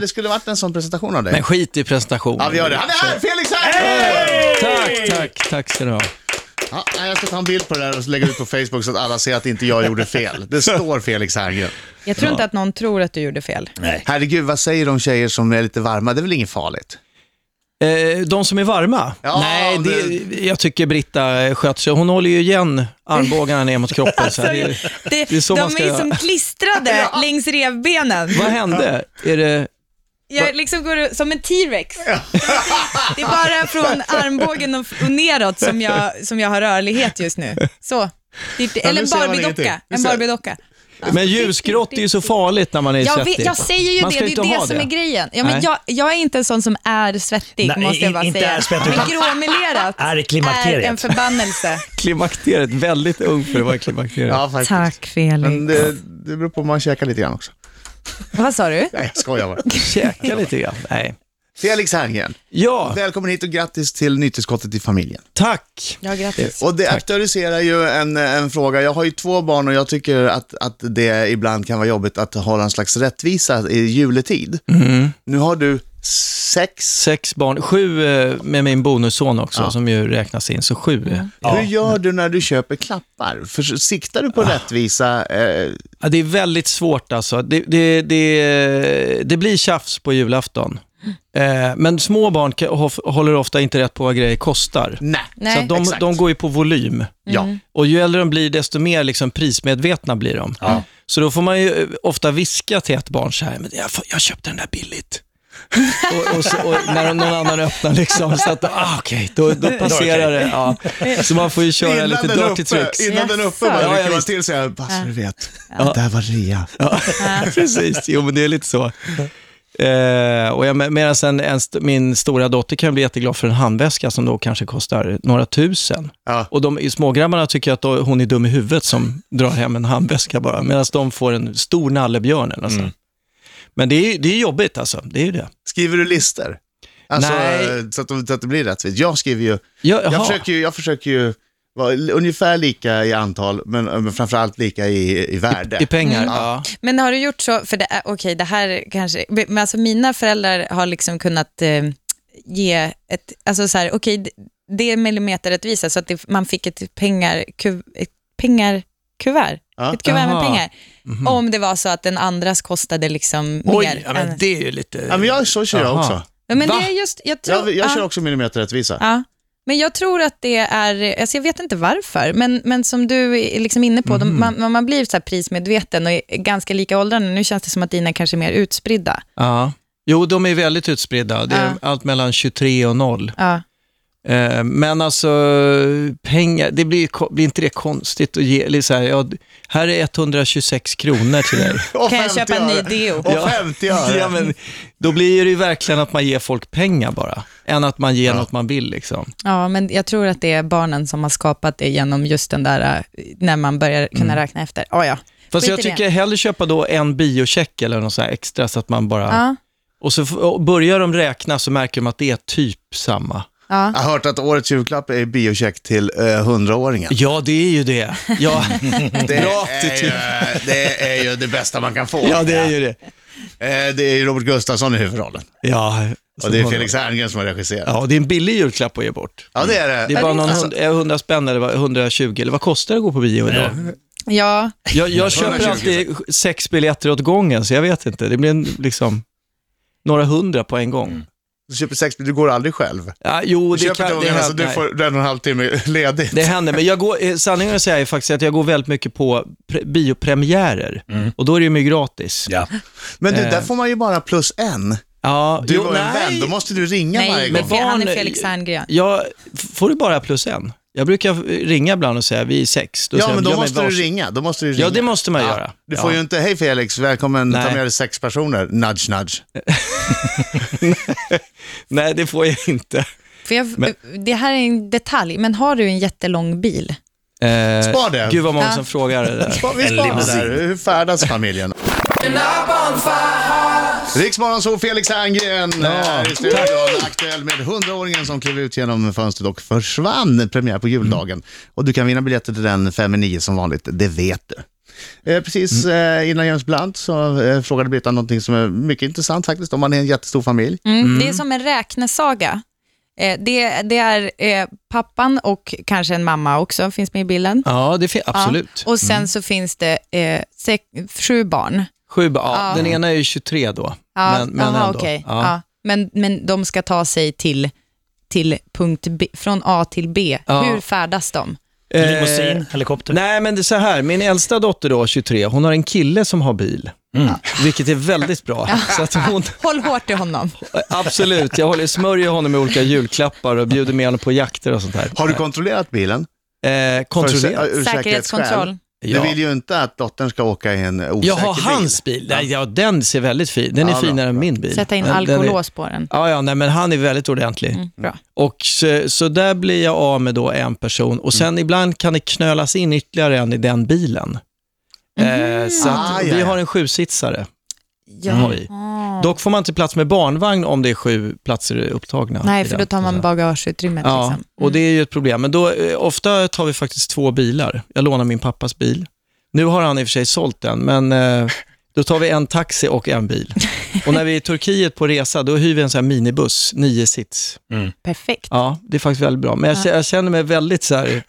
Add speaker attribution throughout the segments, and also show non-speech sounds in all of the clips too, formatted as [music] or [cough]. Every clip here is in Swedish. Speaker 1: det skulle varit en sån presentation av dig.
Speaker 2: Men skit i presentationen.
Speaker 1: ja, vi gör det. Han är här! Felix här!
Speaker 2: Tack, tack, tack ska du ha.
Speaker 1: Ja, nej, jag ska ta en bild på det där och lägga ut på Facebook så att alla ser att inte jag gjorde fel. Det står Felix Herngren.
Speaker 3: Jag tror inte att någon tror att du gjorde fel.
Speaker 1: Herregud, vad säger de tjejer som är lite varma? Det är väl inget farligt?
Speaker 2: Eh, de som är varma?
Speaker 1: Ja,
Speaker 2: Nej, det,
Speaker 1: det-
Speaker 2: jag tycker Britta sköt sig. Hon håller ju igen armbågarna
Speaker 1: [laughs]
Speaker 2: ner mot kroppen. så här.
Speaker 1: Alltså,
Speaker 2: det,
Speaker 3: Det,
Speaker 2: det är så
Speaker 3: de
Speaker 2: man ska
Speaker 3: är
Speaker 2: göra.
Speaker 3: som klistrade [laughs] längs revbenen.
Speaker 2: Vad hände? Är det...
Speaker 3: Jag liksom går ut som en T-rex. Det är bara [laughs] från armbågen och och neråt som jag, som jag har rörlighet just nu. Så. Det är inte- Eller
Speaker 1: nu
Speaker 3: en
Speaker 1: ser man ingenting.
Speaker 3: Barbie-docka.
Speaker 1: Nu
Speaker 3: En
Speaker 1: ser-
Speaker 3: Barbie-docka.
Speaker 1: Alltså,
Speaker 2: Men ljusgrått är ju så farligt när man är
Speaker 3: Jag,
Speaker 2: svettig.
Speaker 3: vet, jag säger ju
Speaker 2: man
Speaker 3: det,
Speaker 2: ska
Speaker 3: det
Speaker 2: inte
Speaker 3: är
Speaker 2: ha
Speaker 3: det som är grejen. Ja, men
Speaker 2: Nej.
Speaker 3: jag, jag är inte en sån som är svettig,
Speaker 4: Nej,
Speaker 3: måste jag bara
Speaker 4: in- inte
Speaker 3: säga.
Speaker 4: är svettig,
Speaker 3: men
Speaker 4: utan
Speaker 3: gråmelerat
Speaker 4: är i klimakteriet.
Speaker 3: är en förbannelse.
Speaker 2: Klimakteriet, väldigt ung för att vara klimakteriet.
Speaker 1: Ja, faktiskt.
Speaker 3: Felix.
Speaker 1: Men det, det beror på om man käkar lite grann också.
Speaker 3: Vad sa du?
Speaker 1: Nej, jag skojar bara.
Speaker 2: Käka lite grann. Nej.
Speaker 1: Felix Herngren,
Speaker 2: Ja,
Speaker 1: välkommen hit och grattis till nytillskottet i familjen.
Speaker 2: tack.
Speaker 3: Ja, grattis.
Speaker 1: Och det aktualiserar ju en, en fråga. Jag har ju två barn och jag tycker att, att det ibland kan vara jobbigt att hålla en slags rättvisa i juletid.
Speaker 2: Mm.
Speaker 1: Nu har du sex.
Speaker 2: Sex barn, sju eh, med min bonusson också, som ju räknas in, så sju.
Speaker 1: Hur gör du när du köper klappar? För, siktar du på
Speaker 2: Ah.
Speaker 1: rättvisa? Eh,
Speaker 2: Ja, det är väldigt svårt alltså. Det, det, det, det blir tjafs på julafton. Eh, men små barn kan, hof- håller ofta inte rätt på vad grejer kostar.
Speaker 1: nej.
Speaker 3: Nej.
Speaker 2: så att de,
Speaker 1: exakt.
Speaker 2: de går ju på volym.
Speaker 1: Ja.
Speaker 2: Och ju äldre de blir, desto mer liksom prismedvetna blir de. Så då får man ju eh, ofta viska till ett barn så här, men jag, får- jag köpte den där billigt. [laughs] och, och, så, och när någon annan öppnar liksom, så att, ah, okej, då, då passerar det. Ja. Så man får ju köra lite
Speaker 1: den
Speaker 2: dirty
Speaker 1: uppe,
Speaker 2: tricks.
Speaker 1: innan den uppe
Speaker 3: Jaså.
Speaker 1: bara
Speaker 2: Ja, ja,
Speaker 1: rycker man
Speaker 2: visst.
Speaker 1: till så här, bara så du vet, det där var rea.
Speaker 2: Ja, [laughs] precis. Jo, men det är lite så. Eh, och jag, medan en, en, st- min stora dotter kan bli jätteglad för en handväska som då kanske kostar några tusen.
Speaker 1: Ja.
Speaker 2: Och de smågrabbarna tycker att då, hon är dum i huvudet som drar hem en handväska bara, medan de får en stor nallebjörn eller något
Speaker 1: Mm.
Speaker 2: sånt. Men det är, ju- det är jobbigt alltså, det är ju det.
Speaker 1: Skriver du lister? Alltså,
Speaker 2: Nej.
Speaker 1: eh, Så, att, de- så att det blir rättvist. Jag skriver ju,
Speaker 2: Ja, jaha.
Speaker 1: jag försöker ju, jag försöker ju vara l- ungefär lika i antal, men, eh, men framförallt lika i, i värde.
Speaker 2: I pengar,
Speaker 1: Mm.
Speaker 2: ja.
Speaker 3: Men har du gjort så, för det är, okej det här kanske, men alltså mina föräldrar har liksom kunnat eh, ge ett, alltså så här, okej det- det är millimeterrättvisa så att det, man fick ett pengar, ku, ett pengar kuvert,
Speaker 1: Ja.
Speaker 3: ett kuvert med
Speaker 2: Ah, Aha. Mhm.
Speaker 3: pengar. Om det var så att den andras kostade liksom mer.
Speaker 2: Oj, ja, men
Speaker 3: än-
Speaker 2: det är ju lite...
Speaker 1: Ja, men jag, så kör jag
Speaker 2: Jaha.
Speaker 1: också.
Speaker 3: Ja, men
Speaker 2: Va?
Speaker 3: det är just, jag tror,
Speaker 1: Jag, jag kör
Speaker 3: ja,
Speaker 1: också millimeterrättvisa.
Speaker 3: ja. Men jag tror att det är, alltså jag vet inte varför, men, men som du är liksom inne på,
Speaker 2: Mhm.
Speaker 3: de, man, man blir så här prismedveten och är ganska lika åldrarna. Nu känns det som att dina kanske är mer utspridda.
Speaker 2: Ja. Jo, de är väldigt utspridda. Det är
Speaker 3: Ja.
Speaker 2: allt mellan 23 och 0.
Speaker 3: Ja.
Speaker 2: Eh, Men alltså, pengar, det blir, ju ko- blir inte det konstigt att ge, eller så här, ja, d- här är 126 kronor till dig.
Speaker 1: Och
Speaker 3: Kan jag
Speaker 1: 50
Speaker 3: köpa en ny
Speaker 1: öre. [laughs]
Speaker 3: deo?
Speaker 1: Och 50 öre.
Speaker 2: ja, [laughs] men, då blir det ju verkligen att man ger folk pengar bara, än att man ger något man vill. Liksom.
Speaker 3: Ja, men jag tror att det är barnen som har skapat det genom just den där, eh, när man börjar kunna räkna efter. Oh, ja.
Speaker 2: Mm. Fast
Speaker 3: Skit i
Speaker 2: jag
Speaker 3: det.
Speaker 2: tycker hellre köpa då en biocheck eller något så här extra, så att man bara...
Speaker 3: Ja,
Speaker 2: Och så f- och börjar de räkna så märker de att det är typ samma.
Speaker 3: ja.
Speaker 1: Jag har hört att årets julklapp är biocheck till eh, hundraåringen.
Speaker 2: Ja, det är ju det.
Speaker 1: [laughs]
Speaker 2: Ja, [laughs] Bra attityd.
Speaker 1: det är ju det bästa man kan få.
Speaker 2: ja det är ju det.
Speaker 1: Eh, Det är ju Robert Gustafsson i huvudrollen.
Speaker 2: Ja,
Speaker 1: Och det är Felix Herngren som har regisserat.
Speaker 2: Ja, det är en billig julklapp att ge bort.
Speaker 1: Ja, det är det. alltså,
Speaker 2: Det är bara
Speaker 3: det är
Speaker 2: någon
Speaker 3: alltså- sant.
Speaker 2: hund, är 100 spänn eller vad- 120, eller vad kostar det att gå på bio idag?
Speaker 3: ja.
Speaker 2: Jag, jag köper
Speaker 1: 120.
Speaker 2: alltid sex biljetter åt gången, så jag vet inte. Det blir en, liksom några hundra på en gång.
Speaker 1: Du köper sex, men du går aldrig själv.
Speaker 2: Ja, jo,
Speaker 1: Mm. Du
Speaker 2: det,
Speaker 1: köper
Speaker 2: kan, det,
Speaker 1: ungarna så
Speaker 2: händer,
Speaker 1: du får en och en halv timme ledigt.
Speaker 2: det händer. Men jag går, eh, sanningen att säga är faktiskt att jag går väldigt mycket på pre, biopremiärer
Speaker 1: Mm.
Speaker 2: och då är det ju mycket gratis.
Speaker 4: Ja.
Speaker 1: Men du, där får man ju bara plus en.
Speaker 2: Ja,
Speaker 1: Du
Speaker 2: Eh. jo,
Speaker 1: var en
Speaker 2: nej.
Speaker 1: vän, då måste du ringa varje
Speaker 3: Nej,
Speaker 1: gång.
Speaker 3: men
Speaker 2: barn-
Speaker 3: han är Felix Herngren.
Speaker 2: Ja, f- får du bara plus en? Jag brukar ringa ibland och säga vi är sex. Då
Speaker 1: Ja,
Speaker 2: säger
Speaker 1: men
Speaker 2: de,
Speaker 1: då
Speaker 2: "Ja,
Speaker 1: måste du
Speaker 2: vars-
Speaker 1: ringa. Då måste du ringa.
Speaker 2: Ja, det måste man
Speaker 1: Ja.
Speaker 2: göra.
Speaker 1: Du
Speaker 2: ja.
Speaker 1: får ju inte, hej Felix, välkommen, ta
Speaker 2: Nej.
Speaker 1: med dig sex personer. Nudge, nudge.
Speaker 2: Nej, det får jag inte.
Speaker 3: För jag,
Speaker 2: Men-
Speaker 3: Det här är en detalj, men har du en jättelång bil?
Speaker 2: Eh,
Speaker 1: Spar det.
Speaker 2: Gud vad många
Speaker 3: Ja.
Speaker 2: som frågar det
Speaker 1: [laughs]
Speaker 2: där.
Speaker 1: Vad vi
Speaker 4: En
Speaker 1: sparar
Speaker 4: limousin.
Speaker 1: där. Hur färdas familjen? Riksmorgon så Felix Herngren ja, här i studion. Aktuell med 100-åringen som klev ut genom fönstret och försvann. Premiär på juldagen. Och du kan vinna biljetter till den fem i nio som vanligt, det vet du. Eh, precis eh, innan James Blunt så eh, frågade Britta någonting som är mycket intressant faktiskt, om man är en jättestor familj.
Speaker 3: Mm. Det är som en räknesaga. Eh, det, det är eh, pappan och kanske en mamma också, finns med i bilden.
Speaker 2: Ja, det finns
Speaker 3: Ja.
Speaker 2: absolut. Mm.
Speaker 3: Och sen så finns det eh, sex, sju barn.
Speaker 2: Sju ba- ja.
Speaker 3: Ja.
Speaker 2: Den ena är ju 23 då.
Speaker 3: Ja,
Speaker 2: men, men
Speaker 3: aha,
Speaker 2: ändå.
Speaker 3: okej.
Speaker 2: Ja.
Speaker 3: Ja, men, men de ska ta sig till, till punkt B, från A till B.
Speaker 2: Ja.
Speaker 3: Hur färdas de?
Speaker 2: Eh,
Speaker 4: Limousin,
Speaker 1: typ.
Speaker 4: helikopter.
Speaker 2: Nej, men det är så här. Min äldsta dotter då, 23, hon har en kille som har bil.
Speaker 1: Mm.
Speaker 2: Vilket är väldigt bra. Så att
Speaker 3: [laughs]
Speaker 2: hon,
Speaker 3: Håll hårt i honom.
Speaker 2: absolut, jag håller, smörjer honom med olika julklappar och bjuder med honom på jakter och sånt där.
Speaker 1: Har du kontrollerat bilen?
Speaker 2: Eh, kontrollerat?
Speaker 1: För- ur
Speaker 3: Säkerhetskontroll.
Speaker 1: säkerhetsskäl. Du vill ju inte att dottern ska åka i en osäker
Speaker 2: Jag har hans bil. Nej, ja, den ser väldigt fin Den är
Speaker 1: Ja, bra,
Speaker 2: finare än
Speaker 1: bra.
Speaker 2: min bil.
Speaker 3: Sätta in
Speaker 2: Den- den är-
Speaker 3: alkolås på den.
Speaker 2: Ja, ja, nej, men han är väldigt ordentlig.
Speaker 3: Mm, bra.
Speaker 2: Och så, så där blir jag av med då en person och
Speaker 3: Mm.
Speaker 2: sen ibland kan det knölas in ytterligare en i den bilen. Eh,
Speaker 3: Mhm.
Speaker 2: så att,
Speaker 1: Ah, ja,
Speaker 2: vi
Speaker 1: ja.
Speaker 2: har en sjusitsare.
Speaker 3: Ja.
Speaker 2: Oj. Dock får man inte plats med barnvagn om det är sju platser upptagna.
Speaker 3: Nej,
Speaker 2: i
Speaker 3: för då
Speaker 2: den.
Speaker 3: tar man bagageutrymmet.
Speaker 2: Ja,
Speaker 3: liksom.
Speaker 2: och det är ju ett problem. Men då, eh, ofta tar vi faktiskt två bilar. Jag lånar min pappas bil. Nu har han i och för sig sålt den, men eh, då tar vi en taxi och en bil. Och när vi är i Turkiet på resa, då hyr vi en sån här minibuss, nio sits.
Speaker 3: Perfekt.
Speaker 2: Ja, det är faktiskt väldigt bra. Men jag, k- jag känner mig väldigt så här,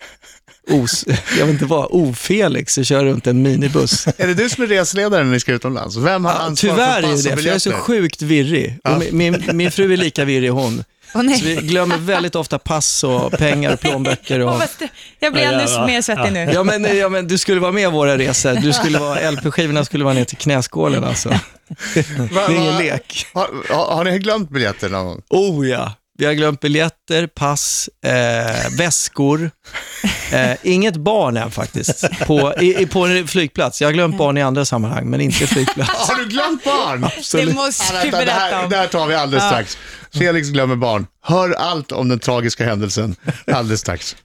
Speaker 2: os, jag vet inte vad, ofelix och kör runt en minibuss.
Speaker 1: Är det du som är reseledare när ni ska utomlands? Vem har
Speaker 2: Ja,
Speaker 1: [laughs] ansvar
Speaker 2: tyvärr
Speaker 1: för
Speaker 2: är
Speaker 1: pass
Speaker 2: det,
Speaker 1: och
Speaker 2: för jag är så
Speaker 1: biljetter?
Speaker 2: sjukt virrig. Och min, min, min fru är lika virrig hon.
Speaker 3: Åh,
Speaker 2: Så
Speaker 3: [laughs]
Speaker 2: vi
Speaker 3: nej.
Speaker 2: glömmer väldigt ofta pass och pengar och plånböcker.
Speaker 3: Åh,
Speaker 2: Och...
Speaker 3: vad str- jag blir
Speaker 4: Ja,
Speaker 3: ännu
Speaker 4: ja,
Speaker 3: mer svettig nu.
Speaker 2: Ja men, ja, men du skulle vara med i våra resor. Du skulle vara, LP-skivorna skulle vara ner till knäskålen alltså. Det är ingen lek.
Speaker 1: Har, har, har ni glömt biljetter någon gång?
Speaker 2: Oh ja. Vi har glömt biljetter, pass, eh, väskor. Eh, inget barn än faktiskt, på, i, i, på en flygplats. Jag har glömt barn i andra sammanhang, men inte flygplats.
Speaker 1: Har du glömt barn?
Speaker 3: Det
Speaker 2: [laughs] Absolut.
Speaker 1: Ja,
Speaker 3: måste du
Speaker 1: vänta, det,
Speaker 3: berätta
Speaker 1: här,
Speaker 3: om.
Speaker 1: det här tar vi alldeles strax. Felix glömmer barn. Hör allt om den tragiska händelsen alldeles strax.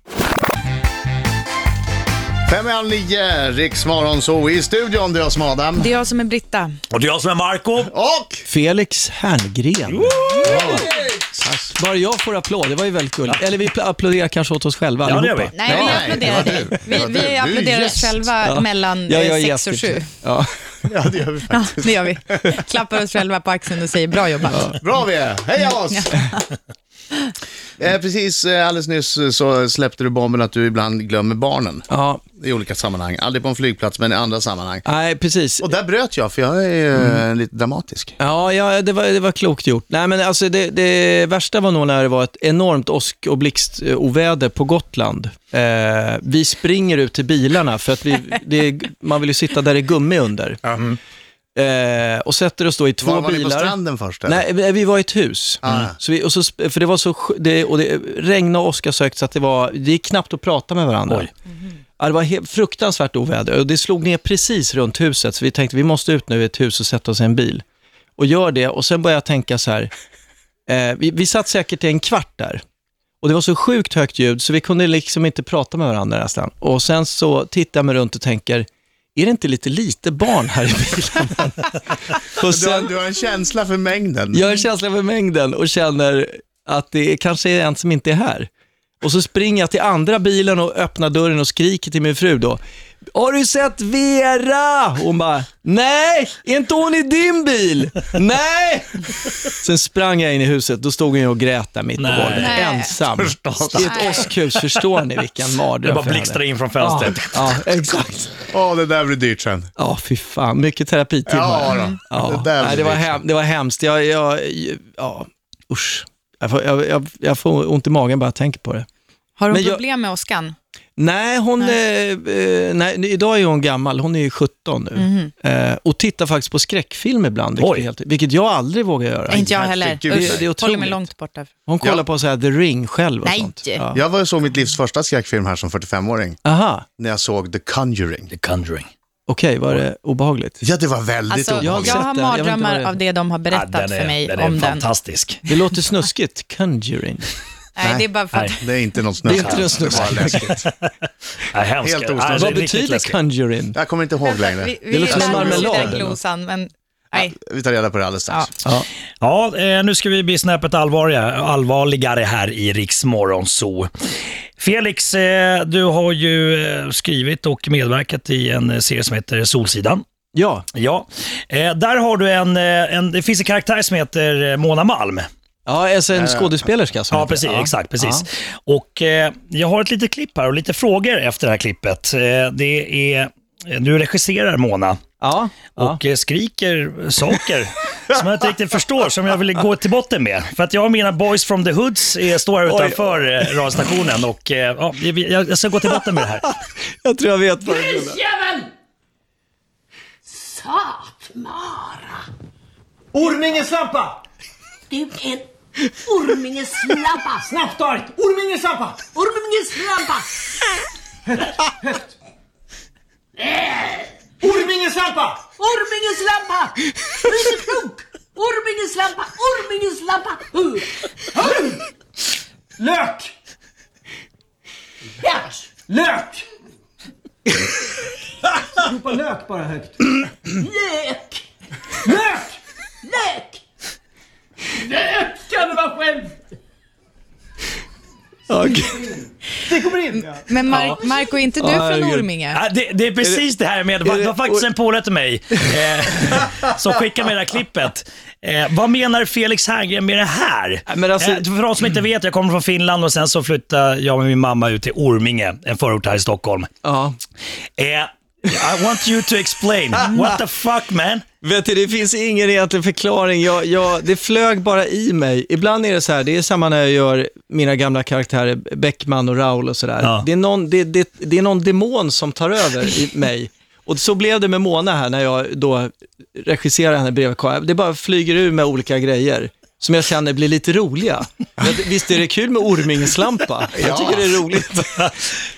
Speaker 1: Fem i halv nio, Riksmorgon så i studion, det är jag som är Adam.
Speaker 3: Det är jag som är Britta.
Speaker 4: Och det är jag som är Marco.
Speaker 1: Och
Speaker 2: Felix Herngren. Ja. Tack. Bara jag får applåd, det var ju väldigt gulligt. Eller vi applåderar kanske åt oss själva
Speaker 4: Ja, det
Speaker 2: allihopa.
Speaker 4: gör vi.
Speaker 3: Nej, vi
Speaker 1: Nej,
Speaker 3: applåderar
Speaker 1: det var du.
Speaker 3: dig.
Speaker 1: Det
Speaker 3: Vi,
Speaker 1: var du. Du
Speaker 3: vi
Speaker 1: är
Speaker 3: applåderar oss
Speaker 1: gäst.
Speaker 3: själva mellan
Speaker 2: Ja, jag är
Speaker 3: 6 och
Speaker 2: gäst typ. i och för
Speaker 3: 7.
Speaker 2: sig. Ja.
Speaker 1: Ja, det gör vi
Speaker 3: Ja,
Speaker 1: faktiskt.
Speaker 3: det gör vi. Klappar oss själva på axeln och säger bra jobbat.
Speaker 1: Bra vi är, heja
Speaker 2: Mm.
Speaker 1: oss! [laughs] eh, precis, eh, alldeles nyss eh, så släppte du bomben att du ibland glömmer barnen
Speaker 2: Ja,
Speaker 1: i olika sammanhang. Aldrig på en flygplats, men i andra sammanhang.
Speaker 2: nej precis.
Speaker 1: Och där bröt jag, för jag är ju
Speaker 2: Mm.
Speaker 1: eh, lite dramatisk.
Speaker 2: Ja, ja det, var, det var klokt gjort. Nej, men alltså det, det värsta var nog när det var ett enormt åsk och blixtoväder på Gotland. Eh, vi springer ut till bilarna för att vi,
Speaker 1: [laughs]
Speaker 2: det, är- man vill ju sitta där det är gummi under. Eh, och sätter oss då i två
Speaker 1: Var, var ni på
Speaker 2: bilar.
Speaker 1: stranden först? eller?
Speaker 2: Nej, vi- vi var i ett hus. Mm.
Speaker 1: Ah.
Speaker 2: Så vi, och så, sp- för det var så, sj- det, och det regnade och åska sökt så att det var, det gick knappt att prata med varandra.
Speaker 4: Oj.
Speaker 2: Ja, det var he- fruktansvärt oväder och det slog ner precis runt huset så vi tänkte vi måste ut nu i ett hus och sätta oss i en bil. Och gör det och sen började jag tänka så här, eh, vi, vi satt säkert i en kvart där. Och det var så sjukt högt ljud så vi kunde liksom inte prata med varandra nästan. Och sen så tittar jag mig runt och tänker, är det inte lite lite barn här
Speaker 1: [laughs]
Speaker 2: i bilen? och
Speaker 1: Du, har, du har en känsla för mängden.
Speaker 2: jag är känslig för mängden och känner att det är- kanske är en som inte är här. Och så springer jag till andra bilen och öppnar dörren och skriker till min fru då. Har du sett Vera? Hon bara, nej, är inte hon i din bil? Nej! Sen sprang jag in i huset, då stod hon ju och grät där mitt på
Speaker 4: Nej.
Speaker 2: golvet,
Speaker 3: Nej.
Speaker 2: ensam.
Speaker 4: Förstås.
Speaker 2: I ett åskhus, förstår ni vilken mardröm
Speaker 4: Det bara
Speaker 2: för henne?
Speaker 4: blixtrar in från
Speaker 2: Ja,
Speaker 4: fönstret.
Speaker 2: ja, exakt.
Speaker 1: Åh, det där blir dyrt sen.
Speaker 2: Ja, fy fan, mycket terapitimmar.
Speaker 1: Ja, då.
Speaker 2: Ja,
Speaker 1: Det där
Speaker 2: nej, det,
Speaker 1: blir liksom-
Speaker 2: var
Speaker 1: det.
Speaker 2: hem, det var hemskt. Jag, jag, ja, usch. Jag får, jag, jag, jag får ont i magen bara jag tänker på det.
Speaker 3: Har
Speaker 2: Men
Speaker 3: du
Speaker 2: jag-
Speaker 3: problem med åskan?
Speaker 2: Nej, hon, eh, eh, nej, idag är hon gammal. Hon är ju 17 nu. Eh, och tittar faktiskt på skräckfilm ibland, vilket,
Speaker 4: Oj.
Speaker 2: är helt, vilket jag aldrig vågar göra.
Speaker 3: Nej, inte jag heller.
Speaker 1: herregud.
Speaker 2: Det- det är
Speaker 3: Usch, håller mig
Speaker 2: otroligt.
Speaker 3: långt borta.
Speaker 2: Hon kollar
Speaker 1: Ja.
Speaker 2: på så här The Ring själv och
Speaker 3: Nej.
Speaker 2: sånt. Ja.
Speaker 1: Jag var och såg mitt livs första skräckfilm här som 45-åring,
Speaker 2: Aha,
Speaker 1: när jag såg The Conjuring.
Speaker 4: The Conjuring.
Speaker 2: okej, var det obehagligt?
Speaker 1: Ja, det var väldigt
Speaker 3: Alltså,
Speaker 2: jag har
Speaker 3: jag,
Speaker 1: obehagligt.
Speaker 2: sett
Speaker 3: har
Speaker 2: den. Jag vet inte vad
Speaker 3: mardrömmar
Speaker 2: det är.
Speaker 3: av det de har berättat
Speaker 4: Ja, den är,
Speaker 3: för mig
Speaker 4: den är
Speaker 3: om den.
Speaker 4: fantastisk.
Speaker 2: Det låter snuskigt, Conjuring.
Speaker 3: Nej, det är bara för att...
Speaker 4: Nej.
Speaker 1: Det är inte någon
Speaker 2: Det är
Speaker 1: snusk.
Speaker 2: inte någon snusk.
Speaker 1: var läskigt.
Speaker 4: Ja, hemskt.
Speaker 1: Helt
Speaker 4: Ja, det är
Speaker 1: ostämt.
Speaker 2: Vad
Speaker 4: riktigt
Speaker 2: betyder
Speaker 4: läskigt.
Speaker 2: Conjuring?
Speaker 1: Jag kommer inte ihåg längre.
Speaker 3: Vi, vi
Speaker 2: Det låter som
Speaker 3: lärde oss
Speaker 2: marmelad
Speaker 3: den
Speaker 2: eller något.
Speaker 3: glosan, men... Nej.
Speaker 1: Vi tar reda på det alldeles strax.
Speaker 2: Ja.
Speaker 4: Ja, eh, nu ska vi bli snäppet allvarliga, allvarligare här i Riksmorgon Zoo. Felix, eh, du har ju eh, skrivit och medverkat i en eh, serie som heter Solsidan.
Speaker 2: Ja,
Speaker 4: Ja, eh, där har du en, eh, en, det finns en karaktär som heter eh, Mona Malm.
Speaker 2: ja alltså en skådespelerska som
Speaker 4: Ja,
Speaker 2: heter det.
Speaker 4: precis, exakt, precis. Och eh, jag har ett litet klipp här och lite frågor efter det här klippet. Eh, det är, eh, du regisserar Mona
Speaker 2: Ja, ja.
Speaker 4: och eh, skriker saker [laughs] som jag inte riktigt förstår, som jag vill gå till botten med. För att jag och mina boys from the hoods eh, står här utanför eh, radiostationen och eh, ja, vi- jag, jag ska gå till botten med det här.
Speaker 2: jag tror jag vet vad det är.
Speaker 5: Grisjäveln! Satmara!
Speaker 6: Ormingeslampa!
Speaker 5: Du är en ormingeslampa!
Speaker 6: Snabbstarkt! Ormingeslampa!
Speaker 5: Ormingeslampa!
Speaker 6: Ormingeslampa!
Speaker 5: Ormingeslampa! Du är så klok! Ormingeslampa! Ormingeslampa! Hur?
Speaker 6: Lök!
Speaker 5: Pers!
Speaker 6: Lök! Ropa lök bara högt.
Speaker 5: Lök!
Speaker 6: Lök!
Speaker 5: Lök! Lök kan du vara själv!
Speaker 2: Ja, gud.
Speaker 6: Det kommer in!
Speaker 3: Men Mar- Marco, är inte du från
Speaker 2: herregud.
Speaker 3: Orminge?
Speaker 4: Ja, det, det är precis det här med, det var,
Speaker 2: är det-
Speaker 4: det var faktiskt en polare till mig eh, som skickade med det här klippet. Eh, vad menar Felix Herngren med det här?
Speaker 2: Ja, men alltså-
Speaker 4: eh, för de som inte vet, jag kommer från Finland och sen så flyttade jag med min mamma ut till Orminge, en förort här i Stockholm.
Speaker 2: ja.
Speaker 4: Eh, I want you to explain. What the
Speaker 2: [laughs]
Speaker 4: fuck man?
Speaker 2: Vet du, det finns ingen egentlig förklaring. Jag, jag, det flög bara i mig. Ibland är det så här, det är samma när jag gör mina gamla karaktärer Beckman och Raoul och sådär.
Speaker 4: Ja.
Speaker 2: Det, är någon- det, det, det är någon demon som tar över i mig. Och så blev det med Mona här när jag då regisserade henne bredvid Kaja. Det bara flyger ur med olika grejer som jag känner blir lite roliga. [laughs] Men Visst är det kul med ormingeslampa? Jag tycker det är roligt.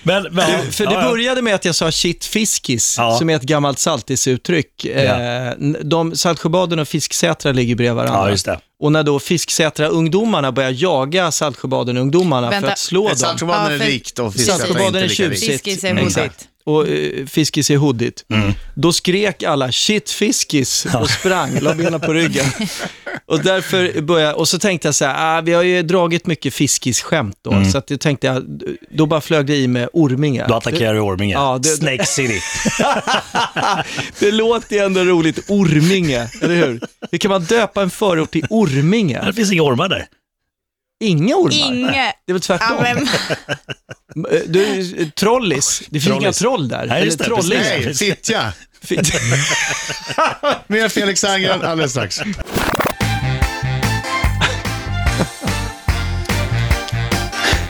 Speaker 4: Men, men,
Speaker 2: Du, för det
Speaker 4: ja, ja.
Speaker 2: började med att jag sa shit fiskis,
Speaker 4: Ja.
Speaker 2: som är ett gammalt saltisuttryck. Eh, de, Saltsjöbaden och Fisksätra ligger bredvid varandra.
Speaker 4: Ja, just det.
Speaker 2: Och när då Fisksätra-ungdomarna börjar jaga Saltsjöbaden-ungdomarna för
Speaker 3: Vänta.
Speaker 2: att slå dem.
Speaker 1: Saltsjöbaden
Speaker 3: Ja,
Speaker 1: är
Speaker 3: för-
Speaker 1: rikt och Fisksätra är
Speaker 2: Saltsjöbaden
Speaker 1: inte
Speaker 2: är
Speaker 1: lika rikt.
Speaker 2: tjusigt.
Speaker 3: Fiskis är
Speaker 2: Mm.
Speaker 3: modigt.
Speaker 2: Och eh, Fiskis är hoodit.
Speaker 4: Mm.
Speaker 2: Då skrek alla shit Fiskis och sprang, la benen på ryggen. Och därför började, och så tänkte jag så här, ah, vi har ju dragit mycket Fiskis-skämt då, så att jag tänkte jag, då bara flög det i med ormingar.
Speaker 4: Mm. Då attackerar du Orminge.
Speaker 2: Ja, det-
Speaker 4: Snake City.
Speaker 2: Det låter ju ändå roligt. Orminge, eller hur? Hur kan man döpa en förort till Orminge?
Speaker 4: Det finns inga ormar där.
Speaker 2: Inga ormar.
Speaker 3: Inge.
Speaker 2: Det är väl tvärtom?
Speaker 3: Ja, men,
Speaker 2: [laughs] Du, eh, trollis. Det finns inga
Speaker 4: Trollis.
Speaker 2: troll där.
Speaker 4: Nej, just
Speaker 2: eller
Speaker 4: det,
Speaker 2: trolling.
Speaker 4: precis.
Speaker 2: [laughs]
Speaker 1: Nej, Fittja! Med Felix Herngren alldeles strax.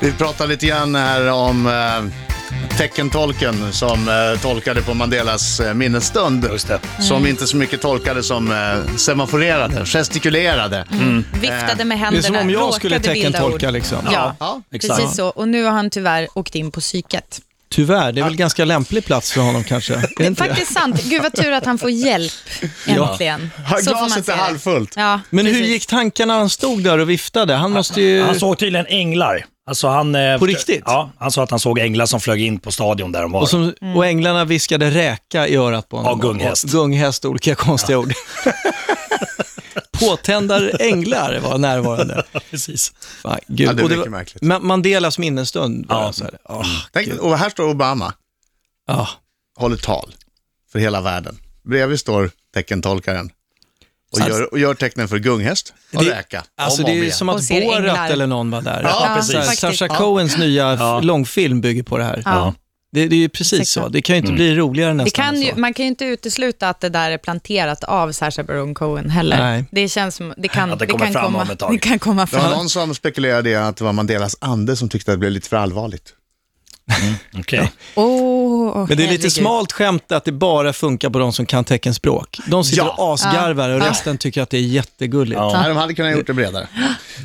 Speaker 1: Vi pratar lite grann här om eh, teckentolken som eh, tolkade på Mandelas eh, minnesstund.
Speaker 4: Just det.
Speaker 1: Som inte så mycket tolkade som eh, semaforerade, gestikulerade.
Speaker 3: viftade med
Speaker 2: Det
Speaker 3: händerna.
Speaker 2: är som om jag skulle
Speaker 3: råkade bilda
Speaker 2: teckentolka
Speaker 3: ord.
Speaker 2: liksom.
Speaker 3: Ja,
Speaker 1: Ja,
Speaker 4: exakt.
Speaker 3: precis så. Och nu har han tyvärr åkt in på psyket.
Speaker 2: Tyvärr, det är väl ganska lämplig plats för honom
Speaker 3: [laughs]
Speaker 2: kanske. Är
Speaker 3: Det
Speaker 2: det
Speaker 3: är
Speaker 2: inte det?
Speaker 3: faktiskt sant. Gud vad tur att han får hjälp äntligen.
Speaker 1: Ja,
Speaker 3: Så får man
Speaker 1: glaset
Speaker 3: se
Speaker 1: är
Speaker 3: det.
Speaker 1: halvfullt.
Speaker 3: Ja,
Speaker 2: Men hur
Speaker 3: precis.
Speaker 2: gick tankarna när han stod där och viftade? Han måste ju...
Speaker 4: Han såg tydligen änglar. Alltså han, eh,
Speaker 2: På riktigt?
Speaker 4: Ja, han sa att han såg änglar som flög in på stadion där de var.
Speaker 2: Och, som,
Speaker 3: Mm.
Speaker 2: och änglarna viskade räka i örat på honom.
Speaker 4: Ja, gunghäst.
Speaker 2: Och gunghäst och olika konstiga
Speaker 1: [laughs]
Speaker 2: ord. Påtändar änglar
Speaker 1: [laughs]
Speaker 2: var närvarande.
Speaker 4: Precis.
Speaker 2: Fan, gud.
Speaker 1: Ja, det är
Speaker 2: Och
Speaker 1: mycket
Speaker 2: var-
Speaker 1: märkligt. Mm.
Speaker 2: Ma- Mandelas minnesstund. var det så här. Ah,
Speaker 1: Tänk, och här står Obama,
Speaker 2: ah.
Speaker 1: håller tal för hela världen. Bredvid står teckentolkaren och,
Speaker 2: Alltså-
Speaker 1: gör, och gör tecknen för gunghäst och
Speaker 2: Det-
Speaker 1: räka.
Speaker 2: Alltså
Speaker 1: om och
Speaker 2: det är
Speaker 1: om
Speaker 2: ju
Speaker 1: igen.
Speaker 2: som
Speaker 3: Och
Speaker 2: att
Speaker 3: ser änglar.
Speaker 2: Borat eller någon var där.
Speaker 1: Ja,
Speaker 2: Så
Speaker 1: precis.
Speaker 2: här,
Speaker 3: faktiskt.
Speaker 2: Sasha Cohens nya f-
Speaker 4: Ja.
Speaker 2: långfilm bygger på det här.
Speaker 4: Ja.
Speaker 2: Det, det är ju precis så.
Speaker 3: Exakt.
Speaker 2: Det kan
Speaker 1: Mm.
Speaker 2: ju inte bli roligare nästan.
Speaker 3: Det kan
Speaker 2: än
Speaker 3: ju,
Speaker 2: så.
Speaker 3: man kan ju inte utesluta att det där är planterat av Sacha Baron Cohen heller.
Speaker 2: Nej.
Speaker 3: Det känns som, det kan,
Speaker 4: Att det kommer
Speaker 3: kan
Speaker 4: fram
Speaker 3: komma,
Speaker 4: om ett tag.
Speaker 3: [laughs] Det kan komma
Speaker 1: Det var
Speaker 3: fram.
Speaker 1: någon som spekulerade i att det var Mandelas ande som tyckte att det blev lite för allvarligt.
Speaker 4: Okej.
Speaker 3: Oh,
Speaker 2: Men det är lite
Speaker 3: herregud.
Speaker 2: smalt skämt att det bara funkar på de som kan teckenspråk. De sitter
Speaker 1: Ja.
Speaker 2: och asgarvar och resten tycker att det är jättegulligt.
Speaker 1: Nej, de hade kunnat gjort det bredare.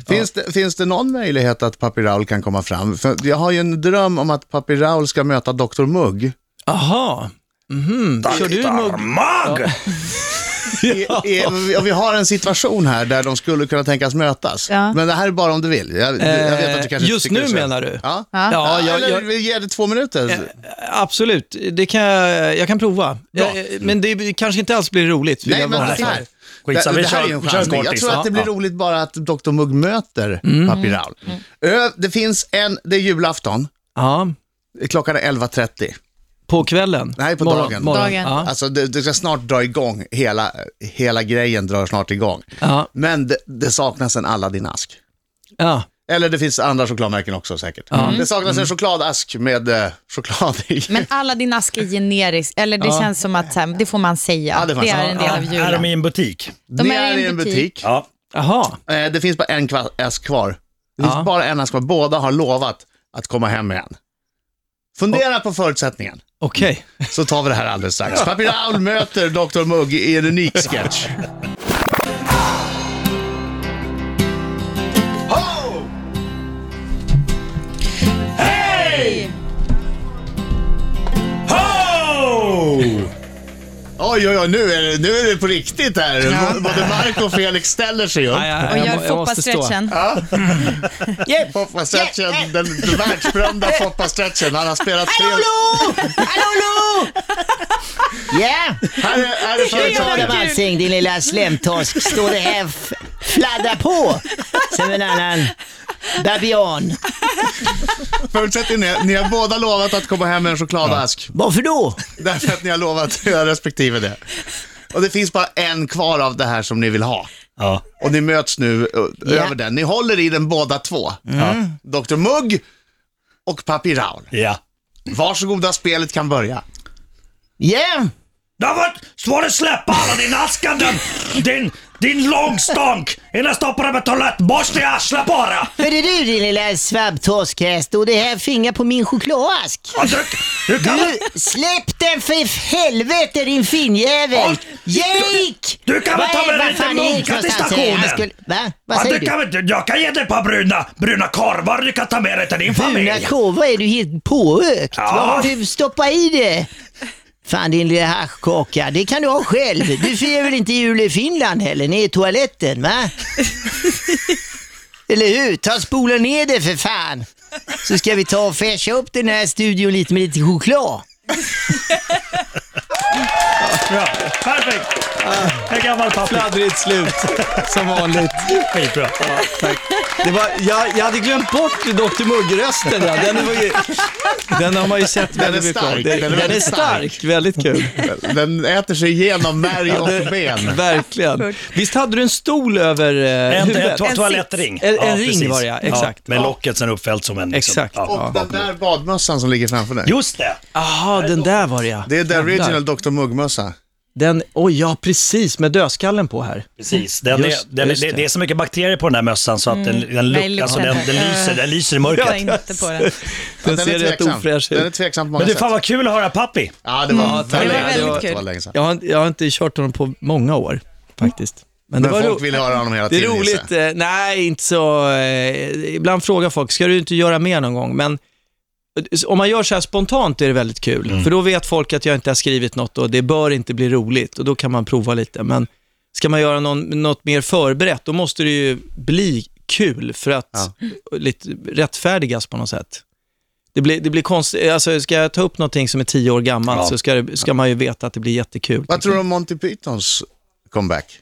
Speaker 1: Finns, det, finns det någon möjlighet att Papi Raul kan komma fram? För jag har ju en dröm om att Papi Raul ska möta Dr. Mugg.
Speaker 2: Aha. Mhm. Kör du mugg?
Speaker 4: Mag!
Speaker 1: Ja. Vi har en situation här där de skulle kunna tänkas mötas.
Speaker 3: Ja.
Speaker 1: Men det här är bara om du vill. Jag, jag vet att du kanske
Speaker 2: Eh, just
Speaker 1: inte tycker
Speaker 2: nu
Speaker 1: det så.
Speaker 2: menar du?
Speaker 1: Ja,
Speaker 3: Ja.
Speaker 2: Ja, jag,
Speaker 1: Eller
Speaker 2: jag, Eh,
Speaker 1: vi ger det två minuter.
Speaker 2: absolut. Det kan jag, jag kan prova. Jag, men det kanske inte alls blir roligt. vill
Speaker 1: Nej,
Speaker 2: jag
Speaker 1: men
Speaker 2: varna
Speaker 1: så
Speaker 2: för.
Speaker 1: här. Det,
Speaker 4: Skitsamma,
Speaker 1: det
Speaker 4: vi
Speaker 1: här är
Speaker 4: kör-
Speaker 1: ju en
Speaker 4: vi kör en
Speaker 1: chansning. Jag
Speaker 4: kortis. Mm.
Speaker 1: tror att det blir
Speaker 2: Ja,
Speaker 1: roligt bara att Dr. Mugg möter Papi Raul. Ö, det finns en, det är julafton,
Speaker 2: Ja,
Speaker 1: Klockan är 11.30.
Speaker 2: på kvällen?
Speaker 1: Nej, på
Speaker 2: morgon,
Speaker 1: dagen.
Speaker 2: Morgon.
Speaker 3: Dagen.
Speaker 2: Ja.
Speaker 1: Alltså det, det ska snart dra igång, hela, hela grejen drar snart igång.
Speaker 2: Ja.
Speaker 1: Men det, det saknas en Aladdin-ask.
Speaker 2: Ja.
Speaker 1: Eller det finns andra chokladmärken också säkert. Det saknas
Speaker 4: Mm.
Speaker 1: en chokladask med eh, choklad i.
Speaker 3: Men alla din ask är generisk, eller det känns som att så här, det får man säga.
Speaker 1: Ja, det
Speaker 3: det,
Speaker 1: får man
Speaker 3: är
Speaker 1: säga.
Speaker 3: en del av
Speaker 4: Är de
Speaker 3: julen.
Speaker 4: i en butik?
Speaker 3: De
Speaker 1: det
Speaker 3: är i en butik.
Speaker 4: Ja.
Speaker 2: Jaha.
Speaker 1: Eh, Det finns bara en kva- ask kvar. Det finns
Speaker 2: Ja.
Speaker 1: bara en ask kvar. Båda har lovat att komma hem igen. Fundera på förutsättningen,
Speaker 2: Okej.
Speaker 1: så tar vi det här alldeles strax. Papi Raul möter Dr Mugg i en unik sketch.
Speaker 4: Oh!
Speaker 1: Oj, oj, oj, nu är det, nu är det på riktigt här. Bå- Både Marco och Felix ställer sig upp.
Speaker 2: Ja, ja,
Speaker 3: Och
Speaker 2: jag
Speaker 3: gör
Speaker 2: må- jag måste stå.
Speaker 3: Foppa-stretchen.
Speaker 1: Foppa-stretchen, den, den världsberömda Foppa-stretchen. Han har spelat tre...
Speaker 7: Hallå! Ja,
Speaker 1: Här är, här är
Speaker 7: nu tar du
Speaker 1: företaget.
Speaker 7: Vansing, din lilla slemtorsk. Står du här f- fladdrar på som en annan babian.
Speaker 1: Förutsättningen är, ni har båda lovat att komma hem med en chokladask.
Speaker 7: Varför då?
Speaker 1: Därför att ni har lovat era respektive det. Och det finns bara en kvar av det här som ni vill ha.
Speaker 4: ja.
Speaker 1: Och ni möts nu ö, över den. Ni håller i den båda två.
Speaker 2: Mm.
Speaker 1: Ja. Dr Mugg och Papi Raul.
Speaker 4: Ja.
Speaker 1: Varsågoda, spelet kan börja.
Speaker 7: Ja,
Speaker 4: David, ska du släppa alla din askanden? Din, din långstånk! Innan jag stoppar dig med toalettborste i arslet bara!
Speaker 7: hörde du din lilla svabbtorsk här, står du här och fingrar på min chokladask?
Speaker 4: Och Du, du kan,
Speaker 7: Du, släpp den för helvete din finjävel!
Speaker 4: Oj!
Speaker 7: Jake!
Speaker 4: Du kan väl
Speaker 7: Vad
Speaker 4: ta
Speaker 7: är-
Speaker 4: med dig
Speaker 7: vad
Speaker 4: lite
Speaker 7: fan är Jake
Speaker 4: munkar till
Speaker 7: någonstans? Eh,
Speaker 4: stationen?
Speaker 7: han skulle- Va? Vad
Speaker 4: ja,
Speaker 7: säger
Speaker 4: du
Speaker 7: du?
Speaker 4: kan, väl- jag kan ge dig ett par bruna, bruna korvar du kan ta med dig till din
Speaker 7: Bruna
Speaker 4: familj.
Speaker 7: korvar är du helt påökt.
Speaker 4: Ja.
Speaker 7: Vad har du stoppat i det? Fan din lilla haschkaka, det kan du ha själv. Du firar väl inte jul i Finland heller, ner i toaletten va? Eller hur? Ta och spola ner det för fan. Så ska vi ta och fräscha upp den här studion lite med lite choklad.
Speaker 4: Ja, perfekt! En gammal pappa.
Speaker 2: Fladdrigt slut, [laughs] som vanligt.
Speaker 4: Skitbra.
Speaker 2: Det var, jag, jag hade glömt bort Dr Mugg-rösten. ja. Den, var ju- den har man ju sett
Speaker 1: Den är
Speaker 2: väldigt mycket
Speaker 1: stark.
Speaker 2: av. Den,
Speaker 1: Den är
Speaker 2: den är
Speaker 1: väldigt stark.
Speaker 2: stark, väldigt kul.
Speaker 1: Den äter sig igenom märg
Speaker 2: Ja, det-
Speaker 1: och ben.
Speaker 2: Mm. Verkligen. Visst hade du en stol över eh,
Speaker 4: En,
Speaker 2: huvudet?
Speaker 4: to-
Speaker 3: En
Speaker 4: toalettring.
Speaker 2: sits. En- en ring
Speaker 4: precis.
Speaker 2: var det, ja, exakt.
Speaker 4: Med
Speaker 2: Ja.
Speaker 4: locket sen uppfällt som en... liksom.
Speaker 2: Exakt.
Speaker 4: Ja.
Speaker 1: Och den där badmössan som ligger framför dig.
Speaker 4: Just det!
Speaker 2: Jaha, den där var det ja.
Speaker 1: Det är the
Speaker 2: Jävlar.
Speaker 1: original Dr Mugg-mössa.
Speaker 2: Den, oj ja precis, med dödskallen på här.
Speaker 4: Precis. Den
Speaker 2: Just-
Speaker 4: är, den,
Speaker 2: just
Speaker 4: det.
Speaker 2: det.
Speaker 4: det är så mycket bakterier på den här mössan så att den, den, luk-
Speaker 3: Nej, luktar
Speaker 4: alltså, den,
Speaker 3: inte.
Speaker 4: den, lyser, den lyser i mörkret.
Speaker 3: Jag inte på den.
Speaker 2: Den,
Speaker 1: Ja,
Speaker 2: ser rätt ofräsch ut.
Speaker 1: Den är tveksam på många
Speaker 4: Men du,
Speaker 1: sätt.
Speaker 4: fan vad kul att höra pappi.
Speaker 1: Ja, det var,
Speaker 2: Mm. Ja, det var
Speaker 1: länge-
Speaker 2: väldigt
Speaker 1: var-
Speaker 3: kul.
Speaker 1: det var länge sedan.
Speaker 2: Jag har, jag har inte kört honom på många år faktiskt. Men det
Speaker 1: Men
Speaker 2: var
Speaker 1: folk
Speaker 2: ro-
Speaker 1: vill höra honom hela
Speaker 2: det är
Speaker 1: tiden. gissar jag.
Speaker 2: roligt. eh, Nej, inte så... Eh, ibland frågar folk, ska du inte göra mer någon gång? Men eh, om man gör så här spontant är det väldigt kul.
Speaker 1: Mm.
Speaker 2: För då vet folk att jag inte har skrivit något och det bör inte bli roligt. Och då kan man prova lite. Men ska man göra någon, något mer förberett, då måste det ju bli kul för att lite rättfärdigas på något sätt. Det blir, det blir konstigt, alltså ska jag ta upp någonting som är tio år gammalt
Speaker 4: Ja.
Speaker 2: så ska, det, ska man ju veta att det blir jättekul.
Speaker 1: Vad tror du om Monty Pythons comeback?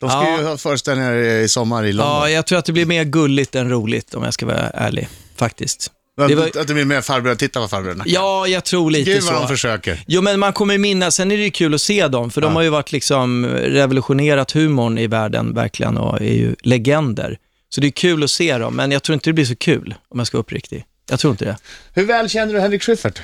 Speaker 1: De ska
Speaker 2: Ja.
Speaker 1: ju ha föreställningar i sommar i London.
Speaker 2: Ja, jag tror att det blir mer gulligt än roligt om jag ska vara ärlig, faktiskt.
Speaker 1: Men
Speaker 2: det var-
Speaker 1: Att det blir mer farbröder, titta vad farbröderna kan.
Speaker 2: Ja, jag tror lite
Speaker 1: Gud vad de
Speaker 2: så.
Speaker 1: försöker.
Speaker 2: Jo, men man kommer ju minnas, sen är det ju kul att se dem, för de har ju varit liksom revolutionerat humorn i världen verkligen och är ju legender. Så det är kul att se dem, men jag tror inte det blir så kul om jag ska vara uppriktig. Jag tror inte det.
Speaker 1: Hur väl känner du Henrik Schyffert?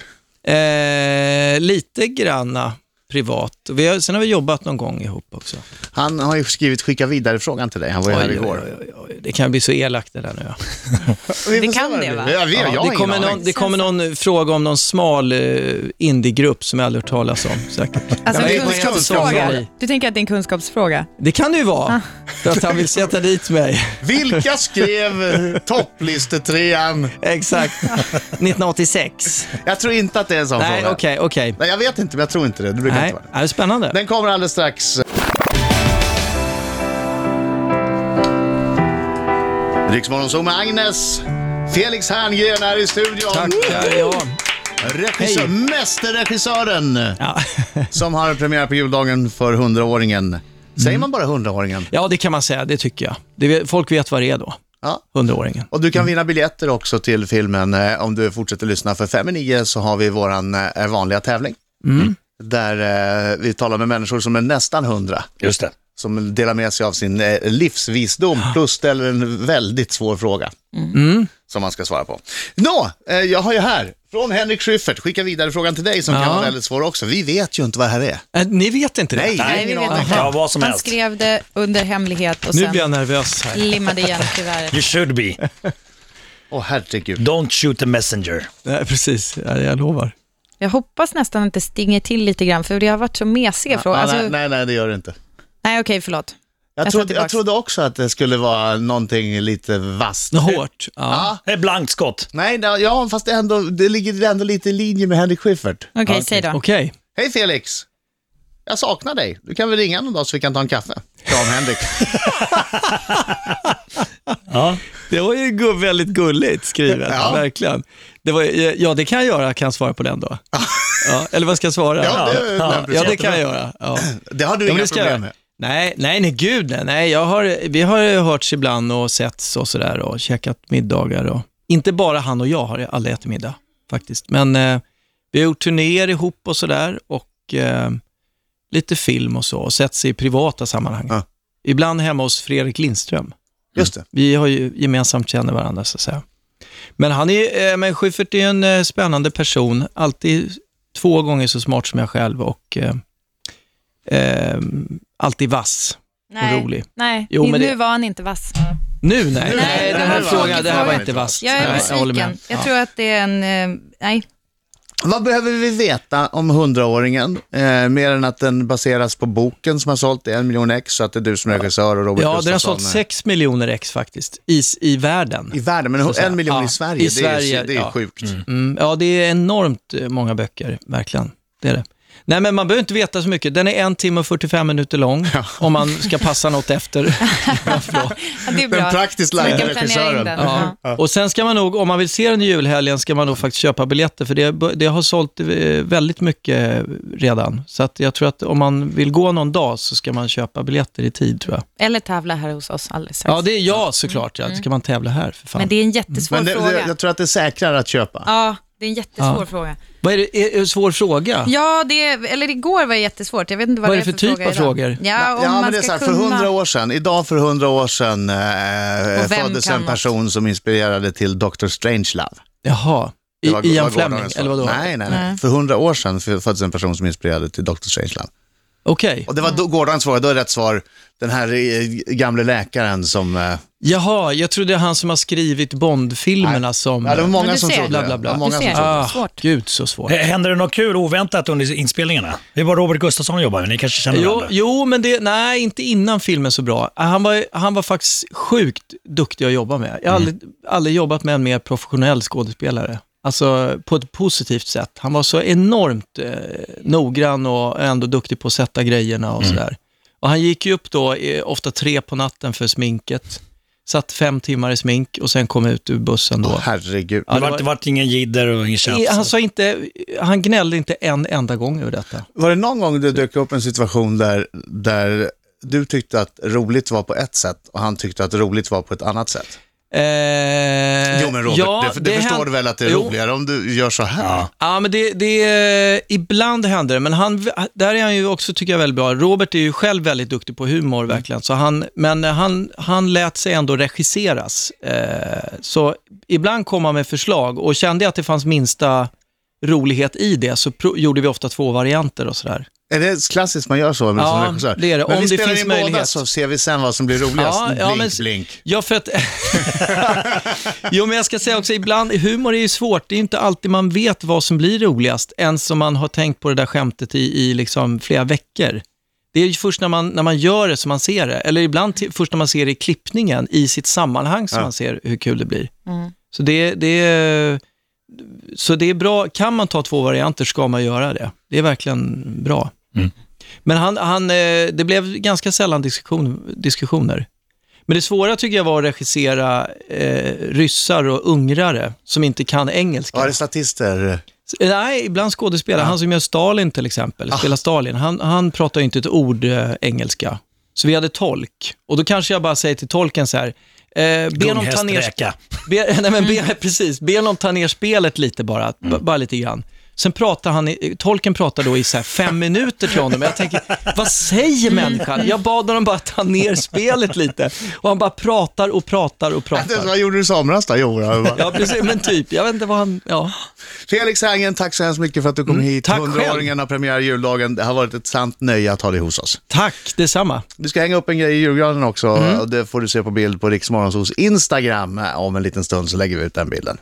Speaker 2: Eh, lite granna privat. Vi har, sen har vi jobbat någon gång ihop också.
Speaker 1: Han har ju skrivit skicka vidare-frågan till dig. Han var ju här
Speaker 2: Oj,
Speaker 1: igår.
Speaker 2: oj, oj, oj. Det kan bli så elakt det där nu. Ja.
Speaker 1: Vi får
Speaker 3: Det
Speaker 1: se
Speaker 3: kan
Speaker 1: vad
Speaker 3: det,
Speaker 1: blir.
Speaker 3: va?
Speaker 1: Jag, vet, jag har
Speaker 2: det, kommer
Speaker 1: ingen
Speaker 2: någon,
Speaker 1: aning.
Speaker 2: det kommer någon fråga om någon smal eh, indiegrupp som jag aldrig hört talas om säkert.
Speaker 3: Alltså
Speaker 1: Ja, men
Speaker 3: en
Speaker 1: det är en
Speaker 3: kunskapsfråga.
Speaker 2: kunskapsfråga.
Speaker 3: Du tänker att det är en kunskapsfråga?
Speaker 2: Det kan det ju vara, för att han vill sätta dit mig.
Speaker 1: Vilka skrev
Speaker 2: [laughs]
Speaker 1: eh, topplistetrean?
Speaker 2: Exakt. 1986.
Speaker 1: Jag tror inte att det är en sån
Speaker 2: Nej,
Speaker 1: fråga.
Speaker 2: okej, okej.
Speaker 1: Nej, jag vet inte, men jag tror inte det. Det brukar
Speaker 2: Nej,
Speaker 1: inte vara det.
Speaker 2: det är spännande.
Speaker 1: Den kommer alldeles strax. Riksmorgonzoo med Agnes. Felix Herngren är i studion.
Speaker 2: Tackar, ja.
Speaker 1: Regissör,
Speaker 2: Hej.
Speaker 1: mästerregissören
Speaker 2: Ja.
Speaker 1: som har premiär på juldagen för 100-åringen. Säger man bara 100-åringen?
Speaker 2: ja, det kan man säga, det tycker jag. Det, vet- folk vet vad det är då.
Speaker 1: Ja.
Speaker 2: hundraåringen.
Speaker 1: Och du kan vinna biljetter också till filmen eh, om du fortsätter lyssna. För fem i nio så har vi vår eh, vanliga tävling. Där eh, vi talar med människor som är nästan hundra.
Speaker 4: Just det.
Speaker 1: Som delar med sig av sin eh, livsvisdom plus ställer en väldigt svår fråga.
Speaker 3: Mm.
Speaker 1: Som man ska svara på. Nå, eh, jag har ju här. Från Henrik Schyffert, skicka vidare frågan till dig som
Speaker 2: Ja.
Speaker 1: kan vara väldigt svår också. Vi vet ju inte vad det här är.
Speaker 2: Äh, ni vet inte
Speaker 1: Nej,
Speaker 2: det?
Speaker 3: Nej, vi
Speaker 1: ingen
Speaker 3: vet
Speaker 1: aning.
Speaker 3: inte.
Speaker 4: Ja, vad som
Speaker 3: Han
Speaker 4: helst.
Speaker 3: skrev det under hemlighet och
Speaker 2: Nu blir jag
Speaker 3: sen
Speaker 2: nervös här.
Speaker 3: limmade igen kuvertet.
Speaker 4: You should be.
Speaker 1: Åh herregud.
Speaker 4: Don't shoot the messenger.
Speaker 2: Nej, precis, Ja, jag lovar.
Speaker 3: Jag hoppas nästan att det stinger till lite grann, för det har varit så mesiga frågor.
Speaker 1: Ja,
Speaker 3: Alltså,
Speaker 1: nej,
Speaker 3: nej,
Speaker 1: nej, nej, det gör det inte.
Speaker 3: okej, förlåt.
Speaker 1: Jag
Speaker 3: Jag
Speaker 1: trodde,
Speaker 3: tar
Speaker 1: jag
Speaker 3: tillbaks.
Speaker 1: trodde också att det skulle vara någonting lite vasst.
Speaker 2: Hårt. Ja.
Speaker 4: Det är blankt skott.
Speaker 1: Nej, nej, ja, fast det, ändå, det ligger ändå lite i linje med Henrik Schyffert.
Speaker 3: Okej, säg då.
Speaker 2: Okej.
Speaker 1: Hej Felix! Jag saknar dig. Du kan väl ringa någon dag så vi kan ta en kaffe? Kram Henrik.
Speaker 3: [laughs]
Speaker 2: Det var ju gu- väldigt gulligt skrivet,
Speaker 1: Ja.
Speaker 2: verkligen. Det var, ja, det kan jag göra. Kan jag svara på den då? Ja, eller vad ska jag svara?
Speaker 1: Ja, det,
Speaker 4: ja,
Speaker 2: Ja, det kan jag göra. Ja.
Speaker 1: det har du
Speaker 2: Ja, men
Speaker 1: inga
Speaker 2: det ska jag
Speaker 1: problem
Speaker 2: göra.
Speaker 1: med.
Speaker 2: Nej, nej, nej, gud nej. nej jag har, vi har ju hörts ibland och setts och sådär och käkat middagar. Och, inte bara han och jag har alla ätit middag faktiskt, men eh, vi har gjort turnéer ihop och sådär och eh, lite film och så och setts i privata sammanhang.
Speaker 1: Ja.
Speaker 2: Ibland hemma hos Fredrik Lindström.
Speaker 1: Just det.
Speaker 2: Vi har ju gemensamt känner varandra så att säga. Men han är, eh, men Schyffert är en eh, spännande person, alltid två gånger så smart som jag själv och eh, eh, alltid vass.
Speaker 3: Nej,
Speaker 2: rolig.
Speaker 3: nej.
Speaker 2: Jo, men
Speaker 3: nu
Speaker 2: det-
Speaker 3: var han inte vass.
Speaker 2: Nu nej. Nej,
Speaker 3: Nej,
Speaker 2: den
Speaker 3: det
Speaker 2: här
Speaker 3: var-
Speaker 2: frågan, det här var
Speaker 3: fråga.
Speaker 2: inte vasst.
Speaker 3: Jag är
Speaker 2: Nej,
Speaker 3: besviken. Jag, tror att det är en... eh, Nej.
Speaker 1: Vad behöver vi veta om hundraåringen? Eh, mer än att den baseras på boken som har sålt i en miljon ex, så att det är du som är regissör och Robert
Speaker 2: Ja, den har
Speaker 1: Gustafsson
Speaker 2: sålt
Speaker 1: är-
Speaker 2: 6 miljoner ex faktiskt, i, i världen.
Speaker 1: I världen, men
Speaker 2: Så att säga.
Speaker 1: en miljon
Speaker 2: Ja,
Speaker 1: i Sverige,
Speaker 2: i
Speaker 1: det är,
Speaker 2: Sverige,
Speaker 1: ju- det är
Speaker 2: ja.
Speaker 1: sjukt.
Speaker 2: Mm, ja, det är enormt eh, många böcker, verkligen. Det är det. Nej, men man behöver inte veta så mycket. Den är en timme och 45 minuter lång, om man ska passa något efter.
Speaker 1: [laughs]
Speaker 3: Ja, det är bra.
Speaker 1: Den praktiskt
Speaker 3: Så vi
Speaker 1: lagda
Speaker 3: kan planera in
Speaker 1: regissören.
Speaker 3: den.
Speaker 2: Ja.
Speaker 3: Ja.
Speaker 2: Och sen ska man nog, om man vill se den i julhelgen, ska man nog faktiskt köpa biljetter, för det, det har sålt eh, väldigt mycket redan. Så att jag tror att om man vill gå någon dag så ska man köpa biljetter i tid, tror jag.
Speaker 3: Eller tävla här hos oss alldeles strax.
Speaker 2: Ja, det är jag såklart. Ja. Ska man tävla här för fan?
Speaker 3: Mm. Men det är en jättesvår
Speaker 1: Men det,
Speaker 3: fråga.
Speaker 1: det, jag tror att det är säkrare att köpa.
Speaker 3: Ja, det är en jättesvår
Speaker 2: Ja.
Speaker 3: fråga.
Speaker 2: Vad är det, är, är det en svår fråga?
Speaker 3: Ja, det, eller igår var det jättesvårt. Jag vet inte vad,
Speaker 2: Vad är
Speaker 3: det
Speaker 2: det för typ
Speaker 3: fråga
Speaker 2: av
Speaker 3: idag.
Speaker 2: frågor?
Speaker 3: Ja, om
Speaker 1: ja,
Speaker 3: man
Speaker 1: men det är så här,
Speaker 3: ska kunna...
Speaker 1: för hundra år sedan, idag för hundra år sedan eh,
Speaker 3: Och vem
Speaker 1: föddes
Speaker 3: kan
Speaker 1: en
Speaker 3: något?
Speaker 1: person som inspirerade till Dr. Strangelove.
Speaker 2: Jaha,
Speaker 1: Det var-
Speaker 2: I, Ian
Speaker 1: var gårdagens
Speaker 2: Fleming,
Speaker 1: svar.
Speaker 2: eller vadå?
Speaker 1: Nej, nej, nej. För hundra år sedan f- föddes en person som inspirerade till Dr. Strangelove.
Speaker 2: Okej.
Speaker 1: Och det var då, gårdagens svar, då är rätt svar den här eh, gamle läkaren som... eh,
Speaker 2: Jaha, jag trodde det är han som har skrivit Bond-filmerna som...
Speaker 1: ja, det var många
Speaker 3: du
Speaker 1: som
Speaker 3: ser.
Speaker 1: trodde
Speaker 2: Bla, bla, bla.
Speaker 1: det. var många
Speaker 3: Du
Speaker 1: som
Speaker 3: ser.
Speaker 1: trodde det.
Speaker 2: ah,
Speaker 3: Svårt.
Speaker 2: Gud, så svårt.
Speaker 4: Händer det något kul oväntat under inspelningarna? Det var Robert Gustafsson jobbar med, ni kanske känner
Speaker 2: Jo,
Speaker 4: varandra?
Speaker 2: jo, men det, nej, inte innan filmen så bra. Han var, han var faktiskt sjukt duktig att jobba med. Jag har
Speaker 1: Mm.
Speaker 2: aldrig, aldrig jobbat med en mer professionell skådespelare. Alltså på ett positivt sätt. Han var så enormt eh, noggrann och ändå duktig på att sätta grejerna
Speaker 1: Mm.
Speaker 2: och sådär. Och han gick ju upp då eh, ofta tre på natten för sminket. Satt fem timmar i smink och sen kom ut ur bussen då.
Speaker 1: Åh, herregud.
Speaker 2: Ja,
Speaker 4: det
Speaker 2: det
Speaker 4: vart,
Speaker 2: var-
Speaker 4: det vart ingen jidder och ingen
Speaker 2: I-
Speaker 4: tjafs?
Speaker 2: han, sa inte, han gnällde inte en enda gång över detta.
Speaker 1: Var det någon gång det dök upp en situation där, där du tyckte att roligt var på ett sätt och han tyckte att roligt var på ett annat sätt?
Speaker 2: Eh,
Speaker 1: jo, men Robert, det, det, förstår
Speaker 2: hän-
Speaker 1: du väl att det är
Speaker 2: Jo.
Speaker 1: roligare om du gör så här?
Speaker 2: Ja, men det, det är, ibland händer det, men han, där är han ju också, tycker jag, väldigt bra. Robert är ju själv väldigt duktig på humor, verkligen. Så han, men eh, han, han lät sig ändå regisseras. Eh, så ibland kom han med förslag och kände jag att det fanns minsta rolighet i det så pro- gjorde vi ofta två varianter och sådär.
Speaker 1: Är det klassiskt man gör så men
Speaker 2: Ja,
Speaker 1: som regissör?
Speaker 2: det är det.
Speaker 1: Men
Speaker 2: Om
Speaker 1: vi
Speaker 2: det
Speaker 1: spelar
Speaker 2: finns
Speaker 1: in båda
Speaker 2: möjlighet.
Speaker 1: så ser vi sen vad som blir roligast.
Speaker 2: Ja,
Speaker 1: blink,
Speaker 2: ja, men-
Speaker 1: blink.
Speaker 2: Ja, för att... [laughs] jo, men jag ska säga också, ibland, humor är ju svårt. Det är ju inte alltid man vet vad som blir roligast, ens om man har tänkt på det där skämtet i, i liksom flera veckor. Det är ju först när man, när man gör det som man ser det, eller ibland till, först när man ser det i klippningen, i sitt sammanhang, som man ser hur kul det blir. Så det, det, är- så det är bra, kan man ta två varianter ska man göra det. Det är verkligen bra. Men han, han, eh, det blev ganska sällan diskussion, diskussioner. Men det svåra tycker jag var att regissera eh, ryssar och ungrare som inte kan engelska.
Speaker 1: Ja, det är statister.
Speaker 2: Nej, ibland skådespelare. Han som gör Stalin till exempel, spelar Stalin, han, han pratar ju inte ett ord eh, engelska. Så vi hade tolk. Och då kanske jag bara säger till tolken så här, Eh, be honom ta ner...
Speaker 4: Gunghästräka.
Speaker 2: Be, [laughs] nej men be, precis, be honom ta ner spelet lite bara, b- bara lite grann. Sen pratar han, i- tolken pratar då i så här [laughs] fem minuter till honom. Jag tänker, vad säger människan? Jag bad honom bara ta ner spelet lite. Och han bara pratar och pratar och
Speaker 1: Det-
Speaker 2: pratar.
Speaker 1: Vad gjorde du i somras då? Jo, då.
Speaker 2: Ja, precis, men typ, jag vet inte vad han, ja.
Speaker 1: Felix Herngren, tack så hemskt mycket för att du kom hit.
Speaker 2: Mm, tack själv.
Speaker 1: 100-åringen har premiär juldagen. Det har varit ett sant nöje att ha dig hos oss.
Speaker 2: Tack, detsamma.
Speaker 1: Du ska hänga upp en grej i julgranen
Speaker 2: Mm.
Speaker 1: också. och Det får du se på bild på Riksmorgonsols Instagram. Om en liten stund så lägger vi ut den bilden.